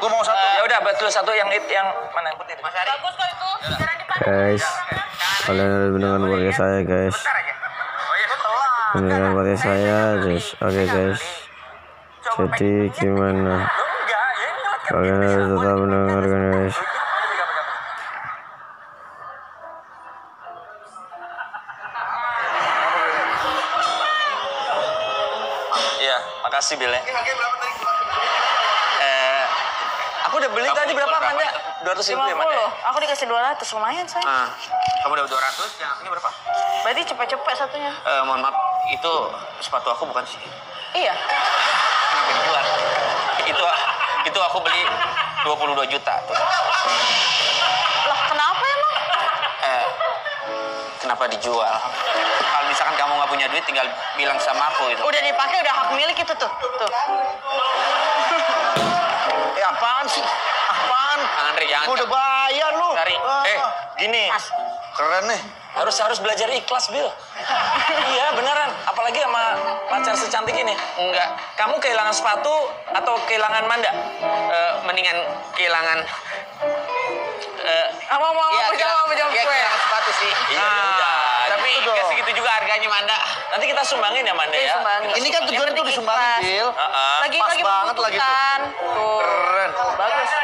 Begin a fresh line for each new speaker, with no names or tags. Gua mau satu.
Ya udah betul satu yang it yang mana yang putih. Mas Ari.
Bagus kok itu. Jangan dipakai.
guys kalian harus mendengar podcast saya guys
Bentar aja. Oh iya, betul
mendengar podcast saya guys oke guys jadi gimana
Lu enggak, ya ini lewat kan.
kalian harus tetap mendengarkan guys
Iya, makasih Bill ya. Eh, aku udah beli tadi berapa kan ya? 200 ribu ya, Manda?
50. Aku dikasih 200 lumayan saya.
Ah,
Kamu dapat 200, yang akunya berapa?
Berarti cepet-cepet satunya.
Eh, mohon maaf, itu sepatu aku bukan sih.
Iya.
Kenapa yang keluar? Itu itu aku beli 22 juta tuh.
Lah kenapa emang?
Eh, kenapa dijual? Kalau misalkan kamu nggak punya duit, tinggal bilang sama aku itu.
Udah dipakai udah hak milik itu tuh. Tuh.
Eh, apaan sih? Apaan?
Andre, jangan.
Gua udah bayar lu.
Nah, Cari.
Ah,
Eh,
gini.
Mas.
Keren nih.
harus harus belajar ikhlas Bill iya beneran apalagi sama pacar secantik ini enggak kamu kehilangan sepatu atau kehilangan manda Eh, mendingan kehilangan
Apa mau
Iya,
apa jawab apa jawab
iya,
gue?
kehilangan sepatu sih Ah,
Iya, udah.
tapi
Gitu
nggak
dong.
segitu juga harganya manda nanti kita sumbangin ya manda
Iya,
ya
sumbangin.
Ini kan tujuannya tuh disumbangin, Bill.
Ah, ah.
Lagi
Pas
lagi
banget lagi tuh.
membutuhkan. Tuh.
Keren.
Bagus.